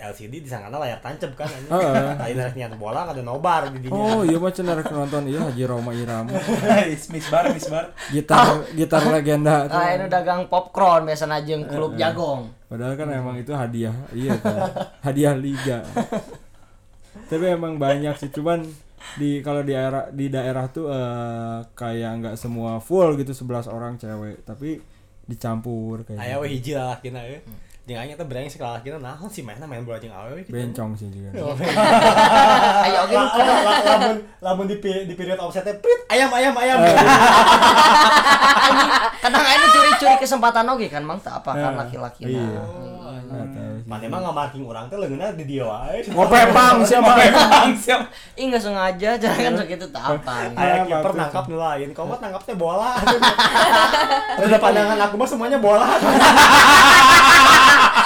LCD di sana layar tancap kan. Heeh. Tadi dari niat bola ada nobar di dinya. Oh iya mah cenderung nonton iya Haji Roma Irama Eh, Misbar, misbar. gitar gitar legenda tuh. lain Ah, dagang popcorn biasanya jeung klub Eh, jagong Padahal kan emang itu hadiah, iya kan. hadiah liga. Tapi emang banyak sih, cuman di kalau di daerah di daerah tuh eh, kayak nggak semua full gitu 11 orang cewek, tapi dicampur kayak gitu. Aya we hiji lalakina ya. euy. Hmm. Jeung aing eta brengsek lalakina nah, naon sih mainna main bola jeung awewe. gitu. iya. bencong sih juga. ayo oke La- la- la- Lamun lamun di pi- di period offsetnya prit ayam ayam ayam. kadang aja curi-curi kesempatan oke kan mang tak apa kan laki-laki Eh, nah. Iya. Hmm. Nggak tahu sih. Mana emang nggak marking orang teh leungeunna di dia wae. Ngope pang siapa? Bang, siap. ih nggak sengaja jangan kan segitu tak apa Aya Kenapa kiper tuh? nangkap nu lain, kau mah nangkapnya bola. Udah pandangan aku mah semuanya bola.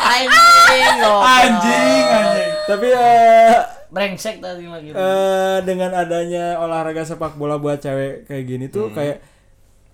anjing goblok. Anjing, anjing. Tapi eh, brengsek tadi lagi eh, dengan adanya olahraga sepak bola buat cewek kayak gini tuh kayak eh,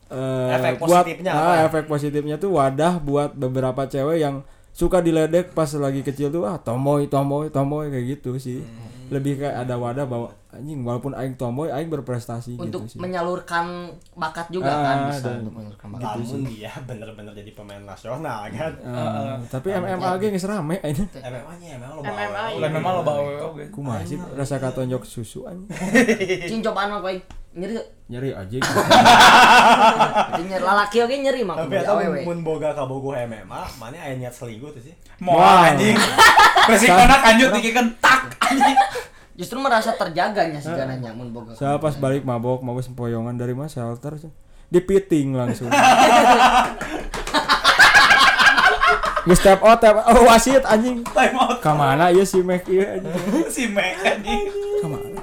Hmm. Efek buat positifnya ah, apa? ya? efek positifnya tuh wadah buat beberapa cewek yang suka diledek pas lagi kecil tuh ah tomoy tomoy tomoy kayak gitu sih Hmm. lebih kayak ada wadah bahwa anjing walaupun aing tomboy aing berprestasi gitu untuk sih. menyalurkan bakat juga Ah, kan bisa dan- untuk menyalurkan bakat Namun dia bener-bener jadi pemain nasional kan. Ah, tapi MMA ge geus rame aing. Gitu. MMA-nya emang lo MMA, bawa. Bukan memang lo bawa oke. Kumaha sih rasa katonjok susu anjing. cing cobaan mah koing nyeri tuh Nyeri aja. Cing nyeri lalaki oke nyeri mah kudu Tapi atau awewe. mun boga kabogoh MMA, mana aya niat selingkuh tuh sih? Mau Wow. Kan. anjing. Persik anak anjut dikikan tak anjing. justru merasa terjaganya sejarahnya mun boga Saya pas balik mabok mabok sempoyongan dari mas shelter sih. Dipiting langsung. Gue step out, step out. Oh, wasit anjing. Time out Kamana ieu si Mac ieu anjing. si Mek anjing. Kamana?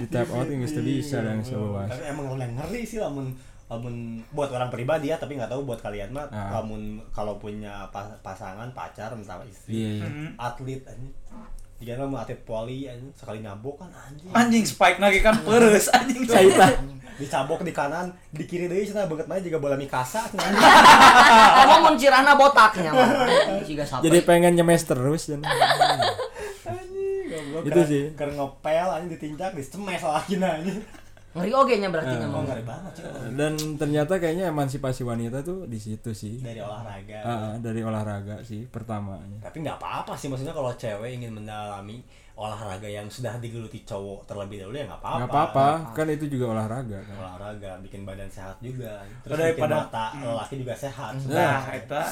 Di tap out geus teu bisa langsung bebas. Iya, Tapi emang yang ngeri sih lamun lamun buat orang pribadi ya, tapi nggak tahu buat kalian mah. Ah. Lamun kalau punya pa- pasangan, pacar, entah istri, Iya. iya. atlet anjing. Jika mau atlet poli anjing, sekali nabok kan anjing. Ah. Anjing spike lagi kan peres anjing. Dicabok di kanan, di kiri deui cenah banget mah juga bola mikasa cenah, anjing. Ah, Emang Ah, mun cirahna botaknya mah. Jiga sabar. Jadi pengen nyemes terus dan Anjing, goblok. Itu Keur- sih. keur ngepel anjing ditinjak, dicemes lagi nah, anjing. ngeri oge nya berarti nya Oh, mah. ngeri banget sih dan ternyata kayaknya emansipasi wanita tuh di situ sih. dari olahraga. Ah, ah, dari olahraga sih pertamanya. Tapi nggak apa-apa sih maksudnya kalau cewek ingin mendalami olahraga yang sudah digeluti cowok terlebih dahulu ya nggak apa-apa. Nggak apa-apa, kan itu juga olahraga kan. Olahraga bikin badan sehat juga. Terus Daripada- bikin mata lelaki juga sehat. Nah, eta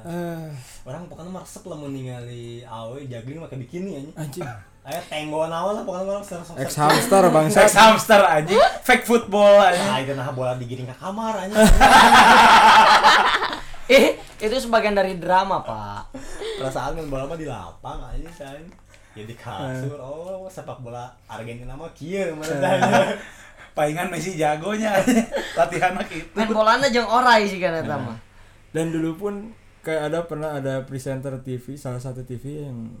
Ah, Orang pokoknya mah resep lah mau ningali awe jagling pakai bikini aja. anjing. Ayo tenggoan awal lah pokoknya orang seru Ex hamster bangsa. sex hamster anjing, fake football anjing. Ayo nah bola digiring ke kamar aja. Eh, itu sebagian dari drama, Pak. Perasaan main bola mah di lapang aja kan. Ya di kasur, oh sepak bola Argentina mah kieu mana tanya. Palingan Messi jagonya anjing. Latihan gitu. anak itu. Main bolana jeung orai sih kan eta Nah. mah. Dan dulu pun kayak ada pernah ada presenter TV salah satu TV yang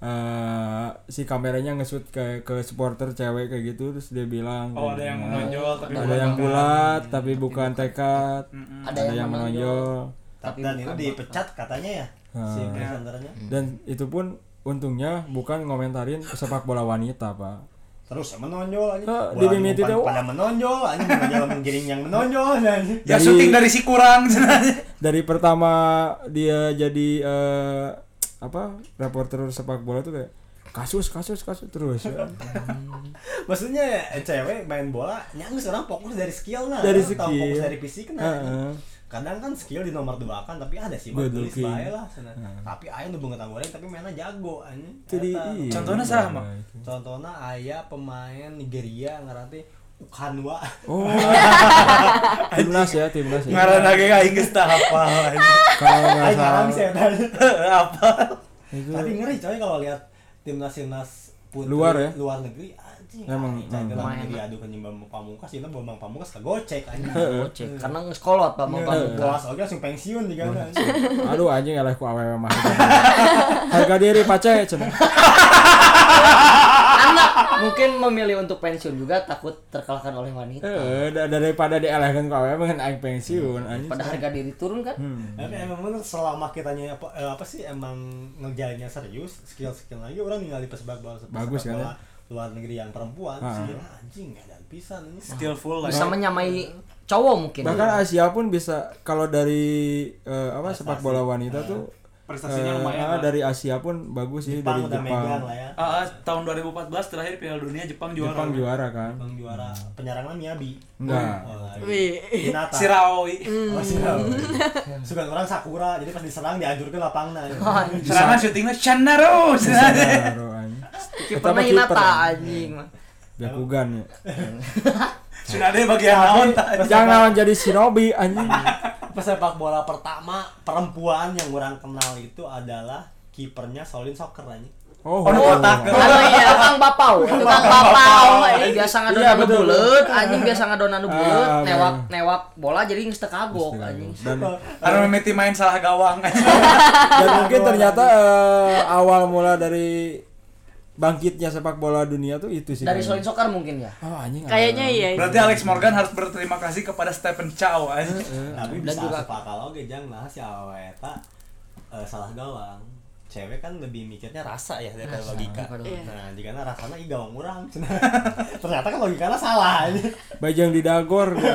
eh, si kameranya nge-shoot ke ke supporter cewek kayak gitu terus dia bilang Oh, ada yang menonjol tapi ada bukan yang tangan. bulat tapi bukan tekad Mm-mm. ada, yang menonjol Tapi dan itu dipecat katanya ya si Hmm. presenternya. dan itu pun untungnya bukan ngomentarin sepak bola wanita pak terus ya menonjol aja Ah, Bola di mimpi diumpan itu, pada menonjol aja menonjol menggiring yang menonjol aja Ya Dari- syuting dari si kurang dari pertama dia jadi eh, apa reporter sepak bola tuh kayak kasus kasus kasus terus ya. maksudnya eh, cewek main bola nyangus orang fokus dari skill nah Dari Orang tahu skill. fokus dari fisik nah Heeh. kadang kan skill di nomor dua kan tapi ada sih Good tulis looking. bae lah sana. tapi ayah nu beungeut goreng tapi mainnya jago aja jadi iya. Contohnya sama. contohnya ayah pemain Nigeria ngarati Ukanwa oh timnas ya timnas ya. ngaran lagi aing geus tah hafal anjing. kalau nggak Iya, ayah salah jarang sih eta. Apa? itu Tapi ngeri coy kalau lihat timnas timnas putri Luar ya? luar negeri anjing. Emang, Cai emang. dalam negeri adu ketimbang pamungkas itu bambang pamungkas kagocek anjing. Gocek. Karena ngeskolot Pak Iya. mau Pak. Kelas oke langsung pensiun juga anjing. Iya. aduh anjing eleh ku awewe mah harga diri pace cenah. Anak mungkin memilih untuk pensiun juga takut terkalahkan oleh wanita. eh da- daripada dielehkan ku awewe kan aing pensiun Iya. anjing Pada harga diri turun kan? Tapi emang bener selama kita nyanyi apa, eh, apa sih emang ngejalannya serius skill skill lagi orang ningali pesepak bola pesepak Bagus kan, bola luar negeri yang perempuan Ah. sih anjing dan pisan ini. Skillful Bisa Iya. menyamai cowok mungkin. bahkan Asia pun bisa kalau dari eh, apa sepak bola wanita tuh eh, Prestasinya lumayan ah, lah. dari Asia pun bagus sih dari Jepang udah Jepang megang lah ya. Ah, ah, tahun 2014 terakhir Piala Dunia Jepang juara. Jepang juara kan Bang juara penyerangnya Miyabi. enggak Oh, Wih. Hinata. Si Raoi. Oh, si Rao. Sugan orang Sakura, jadi pas diserang dianjurkan lapangna. Serangan syutingnya Shanaro. Baru anjing. Kiper Pertama Iya. mah kiper. Hinata anjing mah. Byakugan ya. Sudah ada bagian naon tah. Jangan jadi shinobi anjing. Pesepak bola pertama perempuan yang orang kenal itu adalah kipernya Solin Soccer anjing. Oh, Ono oh, kotak. oh. Anu iya, tukang bapau, tukang bapau. Biasa Iya, ngadona nu betul. buleut, anjing biasa ngadona nu buleut, Ah, newak newak bola jadi geus teu kagok anjing. Dan, Karena Mimiti main salah gawang. dan mungkin ternyata eh, awal mula dari bangkitnya sepak bola dunia tuh itu sih. Dari kayaknya. Solin Soccer mungkin ya. Oh, anjing. Kayaknya iya. Berarti Alex Morgan harus berterima kasih kepada Stephen Chow. anjing. Tapi Dan bisa juga- sepak kalau oge jang nah si Aweta eh, salah gawang. cewek kan lebih mikirnya rasa ya daripada logika. Iya. Nah, jika rasanya ih gawang kurang. Ternyata kan logikanya salah. anjing. Bajang didagor. gua.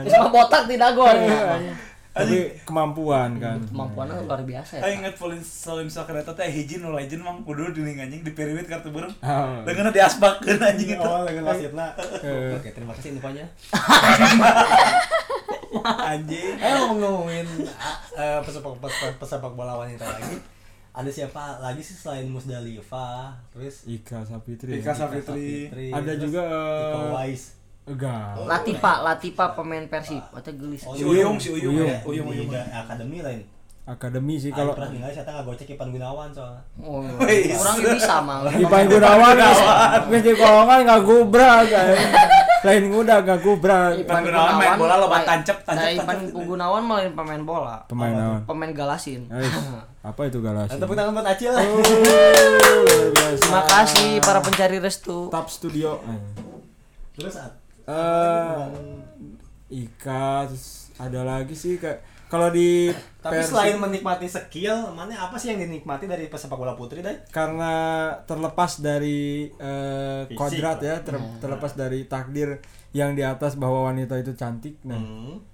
Iya, anjing. Isma botak tidak gor. Iya, ya. Tapi kemampuan kan. Kemampuannya luar biasa ya. Aing inget Polin Salim Sakreta teh "Eh, hiji nu legend mang kudu dinding anjing di periwit kartu burung. Ah. Dengan diasbakeun anjing itu. Oh, dengan wasitna. Eh. Oke, terima kasih infonya. Anjing. Eh ngomong ngomongin eh, pesepak pesepak, pesepak bola wanita lagi. Ada siapa lagi sih selain Musdalifah, terus Ika Sapitri. Ika Safitri, Safitri. Ada terus juga, eh, Iko Uwais. Enggak. Latipa, Latipa pemain Persib. Atau gelis. Si Uyung, si Uyung. Oh, Uyung, Uyung, Uyung, Uyung. akademi lain. Akademi sih kalau Kalau Ah, pernah ninggalin saya nggak gocek Ipan Gunawan soalnya. Oh, Wih. orang ini sama. Ipan Gunawan Gue di kolongan gak gubrak kan. Lain udah gak gubrak. Ipan Gunawan main bola, loba main- tancep, tancep, Nah, Ipan tancep. Gunawan malah pemain bola. Pemain naon? Pemain Galasin. Guys, apa itu galasi? Nah, tepuk tangan buat Acil. Terima kasih para pencari restu. Tap Studio. Terus ah, At, Eh Ika terus ada lagi sih kayak kalau di tapi Persib- selain menikmati skill, mana apa sih yang dinikmati dari pesepak bola putri deh? karena terlepas dari eh, Fisik kodrat lah. Hmm. ya ter- terlepas dari takdir yang di atas bahwa wanita itu cantik nah Hmm.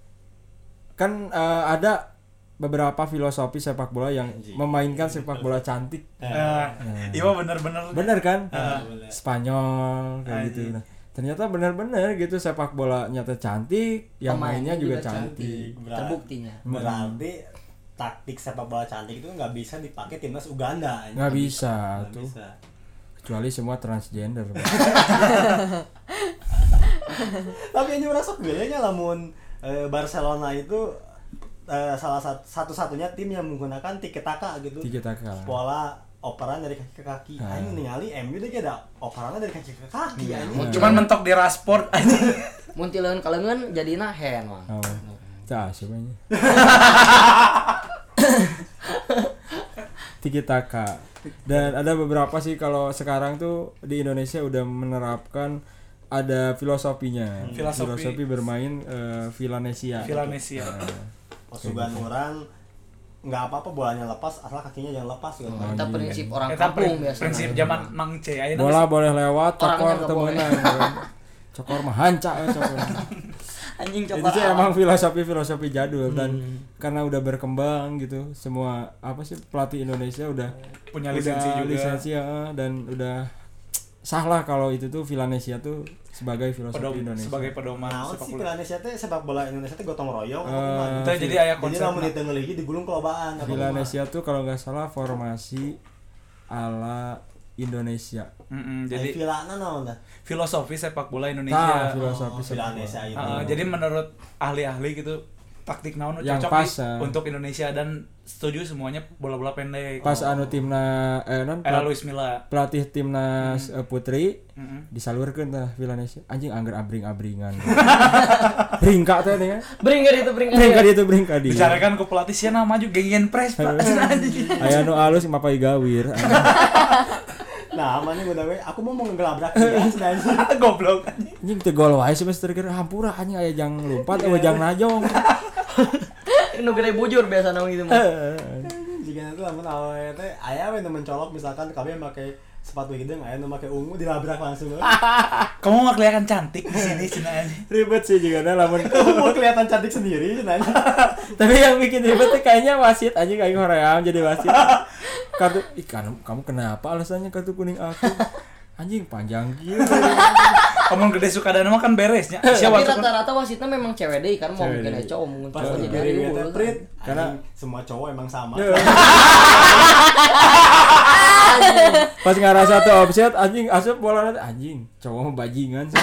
kan eh, ada beberapa filosofi sepak bola yang Anjing. memainkan sepak bola cantik Nah, Iya bener-bener. bener kan bener. Spanyol kayak gitu nah ternyata bener-bener gitu sepak bola nyata cantik yang Pemainnya mainnya juga, juga cantik, Terbuktinya. Berarti taktik sepak bola cantik itu nggak bisa dipakai timnas Uganda. anjing. nggak bisa Nggak tuh bisa. kecuali semua transgender Tapi yang merasa gilanya lamun eh, Barcelona itu eh, salah sat- satu-satunya tim yang menggunakan tiket taka gitu. Tiki-taka. Pola operan dari kaki ke kaki. Aing ningali MU deh ada operannya dari kaki ke kaki anjing. Cuman mentok di rasport anjing. Muntileun kalengan jadina hen, Mang. oh. Cah, siapa ini? Tiki Taka. Dan ada beberapa sih kalau sekarang tuh di Indonesia udah menerapkan ada filosofinya. Filosofi. bermain eh, Villanesia. Villanesia. Osugan orang nggak apa-apa bolanya lepas asal kakinya jangan lepas gitu. Kita prinsip orang Eta kampung pri- biasanya. prinsip zaman Mang C. Ayeuna Bola boleh lewat, Orangnya cokor nggak temenan. cokor mah hancak ya cokor. Anjing Jadi sih emang filosofi-filosofi jadul dan Hmm. karena udah berkembang gitu, semua apa sih pelatih Indonesia udah punya Udah lisensi juga. lisensi, ya, dan udah sah lah kalau itu tuh Villanesia tuh sebagai filosofi Pedom, Indonesia sebagai pedoman Nah, sepak sih bola. Indonesia teh sepak bola Indonesia teh gotong royong. apa Eh, gimana? Itu jadi ayah Jadi konsep. lamun ditengah lagi digulung kelobaan. apa gimana? Villanesia tuh kalau nggak salah formasi ala Indonesia Mm-mm, Jadi Jadi vilana naon dah. filosofi sepak bola nah Indonesia. filosofi Oh, sepak bola. Villanesia itu. Uh, jadi menurut ahli-ahli gitu taktik naon nu Yang cocok pas, nih ah. untuk Indonesia dan setuju semuanya bola-bola pendek. pas anu timna eh non Era Luis Milla. pelatih timnas eh, putri Mm-mm. disalurkan tah Villanesia anjing angger abring-abringan bringka teh nih ya Bringar itu bringar. bringka dia tuh bringka dia Bicarakan ke pelatih Siena maju genggen press Pak. Aya nu alus mapai gawir anjing. Nah, mana gue we aku mau ngegelabrak dia sebenarnya. Goblok anjing. anjing teu gol wae semester keur hampura anjing aya jang lompat aya jang najong Nu gede bujur biasa nang gitu mah. Jika itu lamun awalnya teh aya we nu mencolok misalkan kami make sepatu hidung aya nu make ungu dilabrak langsung. we. Kamu mah kelihatan cantik di sini Cina anjing. ribet sih juga ada lamun Ungu kelihatan cantik sendiri sebenarnya. tapi yang bikin ribet tuh kayaknya wasit aja kayak hoream jadi wasit kartu ih kan- kamu kenapa alasannya kartu kuning aku anjing panjang gitu Kamu gede suka dan mah kan beresnya. Siapa Tapi tuh? rata-rata wasitnya memang cewek deh kan mau Cewek mungkin deui. ya cowok mungkin Pas cowok lagi jadi dari ayu. we teh prit. Karena- Anjing, semua cowok emang sama. Iya. pas ngarasa tuh offset anjing asup bola nanti anjing cowok mah bajingan sih.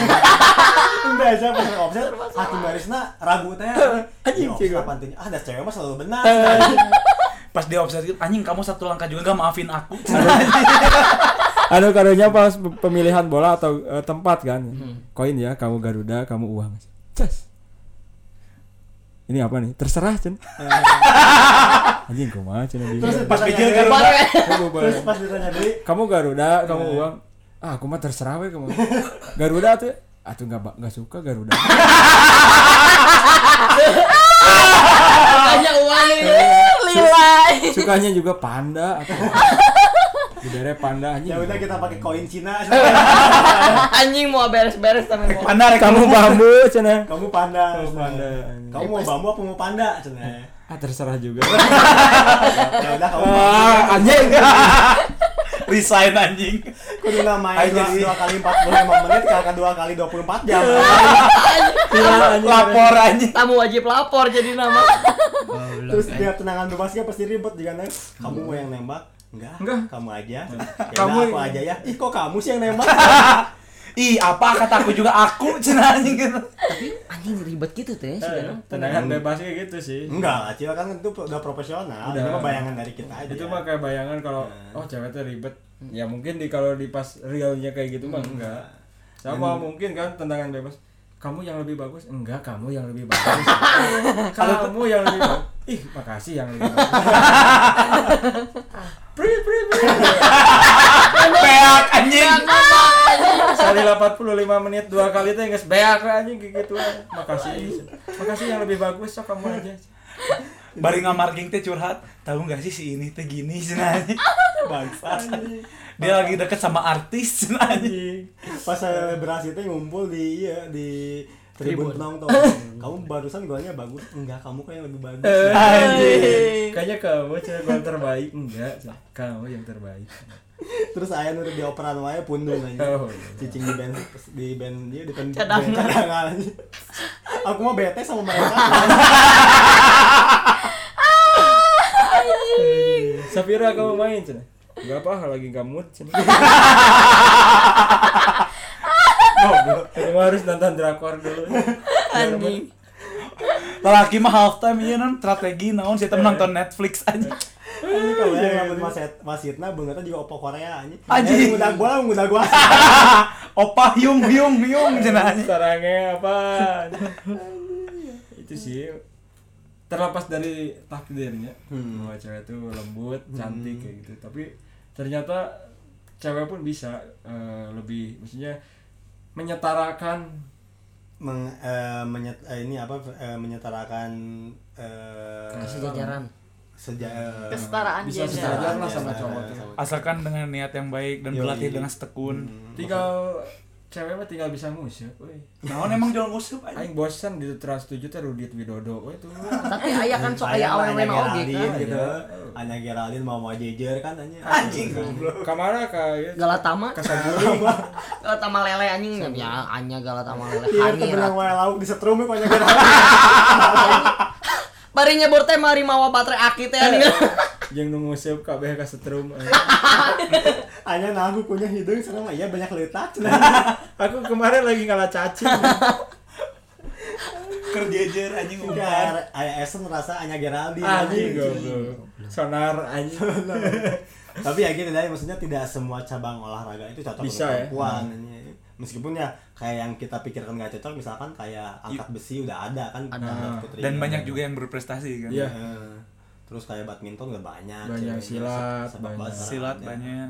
Biasa pas offset hakim barisna ragu teh. Anjing cewek. Ah, das cewek mah selalu benar. sebenarnya. Pas dia offset gitu, anjing kamu satu langkah juga gak maafin aku. anu karunya pas pemilihan bola atau eh, tempat kan Hmm. koin ya kamu Garuda kamu uang Ces. ini apa nih terserah cen anjing kumaha cen anjing. Terus Pas pikir ditanya- Garuda. Kamu bola. Terus pas Eh. ditanya deui, kamu Garuda, kamu uang. Ah, aku mah terserah we kamu. Garuda tuh atuh nggak ba- nggak suka Garuda. Banyak uang ini. Lilai. Sukanya juga panda atau Bidere panda anjing. ya udah kita pakai koin Cina Anjing mau beres-beres tapi mau. Panda rek Kamu bambu cenah. kamu panda Kamu panda. kamu mau bambu apa mau panda Cina Ah terserah juga. ya udah kamu ah, anjing. resign anjing. kudu main Ayo, dua, jadi- dua kali 45 menit kakak dua kali 24 jam Iya. Lapor anjing. Tamu wajib lapor jadi nama. terus dia tenangan bebasnya pasti ribet juga neng kamu mau yang nembak enggak Enggak. Iya. kamu aja ya Kamu- kamu aku aja ya ih kok kamu sih yang nembak Ih, apa kataku juga aku cenah anjing gitu. Anjing ribet gitu teh si Danang. Tendangan Iya. bebasnya gitu sih. enggak lah Cil kan itu udah profesional Udah. udah. mah bayangan dari kita aja Itu mah kayak bayangan kalau Iya. oh cewek teh ribet. Ya mungkin di kalau di pas realnya kayak gitu mah Hmm. enggak. Iya. Sama mungkin kan tendangan bebas. Kamu yang lebih bagus? Enggak, kamu yang lebih bagus. kamu yang lebih bagus. Ih, makasih yang lebih bagus. Prit, prit, prit. Peak anjing. Sekali 85 menit dua kali teh geus beak lah anjing kayak gitu. lah. Makasih. Makasih yang lebih bagus sok kamu aja. Bari ngamarging teh curhat, tahu nggak sih si ini teh gini cenah anjing. bangsa Dia lagi deket sama artis cenah anjing. Anjing. pas selebrasi itu ngumpul di iya di tribun penonton kamu barusan golnya bagus enggak kamu kok yang lebih bagus Eh. Anjing. Kayaknya kamu cewek yang terbaik. Enggak, Cak. kamu yang terbaik. terus ayah udah dioperan wae pundung aja Oh. cicing di band di band dia di band Cadangan. band cadangan aja. aku mah bete sama mereka Safira kamu main cina? Gak apa lagi gak mood cina. Kamu harus nonton drakor dulu. Anjing. Lelaki mah half time ieu non strategi naon sih nonton Netflix anjing. ini kalau Iya, yang ngelamun mas masitna beungeutna juga opo Korea anjing Anjing. Eh, muda gua lah muda gua Opa yung yung yung Nah. cenah anjing. Sarangnya apa? Itu sih terlepas dari takdirnya bahwa cewek itu lembut, cantik kayak gitu. Tapi ternyata cewek pun bisa eh, lebih maksudnya menyetarakan Meng, eh, menyet, eh, ini apa eh, menyetarakan eh, Kasih jajaran. seja, eh, Kesetaraan bisa gender. sejajar lah sama Iya, cowok iya, tuh. sama Asalkan dengan niat yang baik dan Yoi. Hmm. berlatih dengan setekun. tinggal cewek mah tinggal bisa ngusir weh. Naon emang jual musuh anjing. aing bosan di trans 7 teh Rudit Widodo weh tuh Tapi ayah kan sok Sayang aya lah, awewe Anya mah oge kan. Geraldine gitu Anya Geraldine mau mau jejer kan anjing Anjing goblok. kamana ka ya? Galatama, kasaguling Galatama lele anjing ya Anya Galatama lele. Iya, Hani. kebenang Rat. wae lauk disetrum ya, kok Anya Geraldine Bari nyebur teh mari mawa baterai aki teh anjing. jeung nu nguseup kabeh ka setrum Anya nagu punya hidung serem iya banyak letak Nah, aku kemarin lagi ngalah cacing Kerjejer anjing Iya, umpan. kan? Kayak Aya Esen merasa Anya Geraldine gitu. anjing Iya, goblok sonar anjing Tapi ya gitu deh, maksudnya tidak semua cabang olahraga itu cocok Bisa untuk ya. perempuan. Ini. Meskipun ya kayak yang kita pikirkan nggak cocok, misalkan Iya. kayak angkat besi udah ada kan ada putri. Dan banyak juga yang berprestasi kan. Iya. Eh, Terus kayak badminton udah banyak. Banyak cewek. silat, Sepak banyak. bola Silat banyak.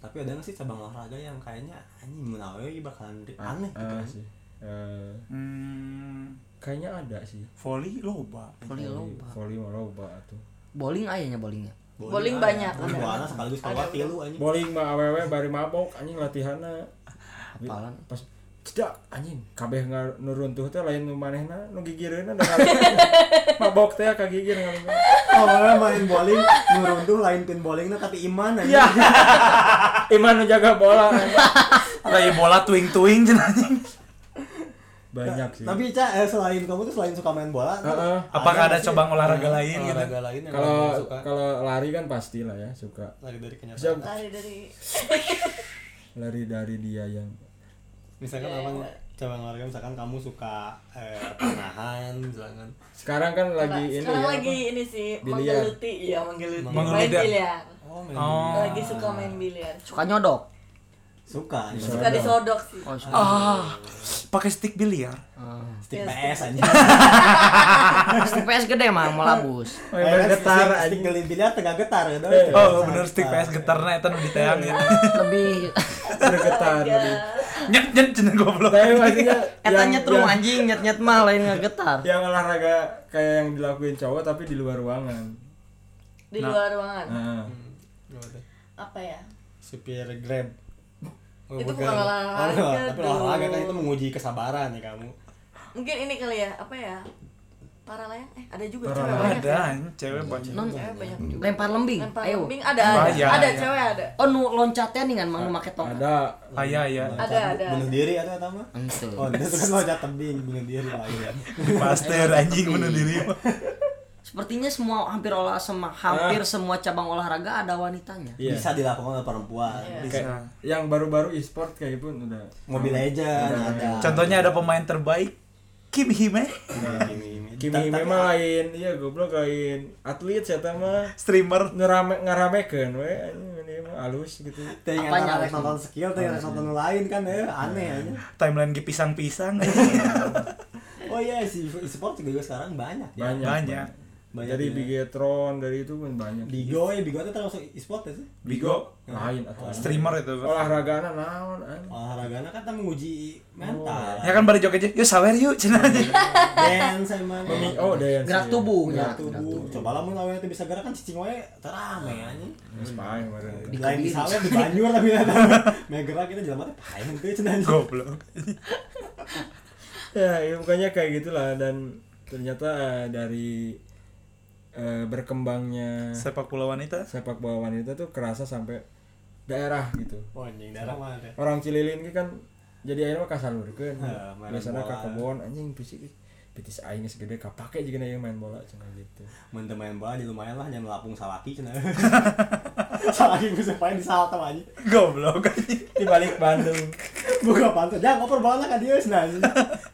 Tapi ada nggak sih cabang olahraga yang kayaknya anjing mun awewe ieu bakalan ri- aneh gitu. Ah, kan? sih. Eh, Hmm, kayaknya ada sih volley loba. Volley loba. volley mah loba atuh Bowling ayahnya bowlingnya. Bowling ya. ada. banyak. Bowling Ada. bola sekaligus keluar tilu anjing. bowling mah awewe bari mabok anjing latihanna Apalan. pas cedak anjing kabeh nga- nuruntuh teh lain nu manehna nu gigireunna da mabok teh kagigir ngalungguh. Oh, awewe main bowling nuruntuh lain pin bowlingnya tapi iman anjing. Ya. Iya. Iman nu jaga bola. Lagi bola tuing-tuing cenah anjing. Banyak sih. Tapi Ca, eh, selain kamu tuh selain suka main bola, Heeh. Iya. Apakah ada nggak sih cabang olahraga lain gitu? olahraga lain yang kalau kamu suka kalau lari kan pasti lah ya suka. lari dari kenyataan. Bisa Dari dari lari dari dia yang Misalkan apa nggak? cabang olahraga misalkan kamu suka eh, panahan, misalkan sekarang kan lagi ini sekarang ya, lagi ini sih Biliar. menggeluti, iya menggeluti. Main Menggeluti. biliar. oh, Oh. Lagi suka main biliar. Suka nyodok. suka ya. Iya. Suka disodok sih. Oh, suka. Ah, pakai stick biliar. stick Iya, PS aja. Pasti PS gede mah melabus. apa? Main bergetar Stick- anjing. Iya. stick gelin biliar tengah getar gitu. Oh, bener stick Iya. PS getarna eta nu ditayangin. Iya. Lebih bergetar lebih. Nyet nyet cenah goblok. Tapi maksudnya eta yang- nyetrum yang- anjing, nyet-nyet mah lain ngegetar. yang olahraga kayak yang dilakuin cowok tapi di luar ruangan Nah, di luar ruangan Heeh. apa ya supir grab Itu bukan olahraga, Oh, tapi tuh. olahraga kan itu menguji kesabaran ya kamu mungkin ini kali ya apa ya para layang eh ada juga Orang cewek banyak ada anjing, cewek banyak. non cewek banyak juga lempar lemping lempar ayo lembing ada ada Banyak, ada ya. cewek ada oh nu loncatnya nih kan mang nu make tongkat Ada Aya aya. ada ada bunuh diri atau apa mah Ente. oh itu kan loncat tebing bunuh diri lah ya Paster anjing bunuh diri. sepertinya semua hampir olah sema, hampir semua cabang olahraga ada wanitanya Iya. bisa dilakukan oleh perempuan Iya. kayak yang baru-baru e-sport kayak pun udah. Mobile Legend Iya. ada Contohnya ada pemain terbaik Kim Hime, Kimi memang lain, iya goblok lain atlet siapa mah streamer. ngerame ngeramekeun we anjing ini mah halus gitu. Tengah Apanya antara harus? nonton skill, tengah nonton lain kan ya aneh Iya. aja. Timeline ge pisang-pisang. Oh iya si e-sport juga sekarang banyak ya. Banyak. Banyak. banyak. Dari ya. Bigetron, dari itu pun banyak. Bigo ya Bigo itu termasuk e-sport ya sih. Bigo lain atau streamer itu. olahraga naon anjing. Olahragana kan kita menguji Oh, mental. iya. Ya kan bari joget aja, yuk sawer yuk cenah. Dance emang. Memi- Oh, dance. iya. gerak Gerak tubuhnya tubuh. Coba lah mun awalnya teu bisa gerak kan cicing wae terame aja. Geus paeng bareng. Lain misalnya di banjur tapi ya. Meh gerak gitu, kita jelema teh pahen teh cenah. Goblok. Ya, ya bukannya kayak gitulah dan ternyata eh, dari eh, berkembangnya Sepak bola wanita. sepak bola wanita tuh kerasa sampai daerah gitu. Oh anjing darah mana teh. Orang Cililin ki kan jadi akhirnya mah kasalurkeun. Heuh, main Biasana bola. ka kebon anjing fisik pitis aing geus gede kapake jeung aing main bola cenah gitu. Mun teu main bola di lumayan lah jangan lapung salaki cenah. Salaki bisa main di salto aja. Goblok anjing. Di balik Bandung, Buka pantat. Jangan ngoper bola ka dieu cenah.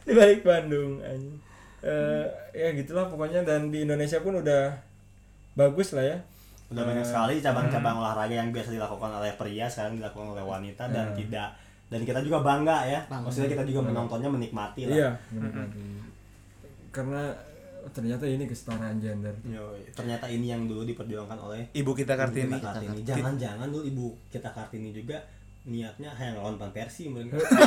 di balik Bandung anjing. Eh ya gitulah pokoknya dan di Indonesia pun udah bagus lah ya. Udah banyak sekali cabang-cabang olahraga yang biasa dilakukan oleh pria sekarang dilakukan oleh wanita dan tidak dan kita juga Hmm. bangga ya. Maksudnya kita juga menontonnya menikmati lah. Iya. Karena ternyata ini kesetaraan gender. Yoi. ternyata ini yang dulu diperjuangkan oleh Ibu kita Ibu Kartini. kita Iya, Kartini. Jangan-jangan dulu Ibu kita Kartini juga niatnya hanya lawan Persi mungkin.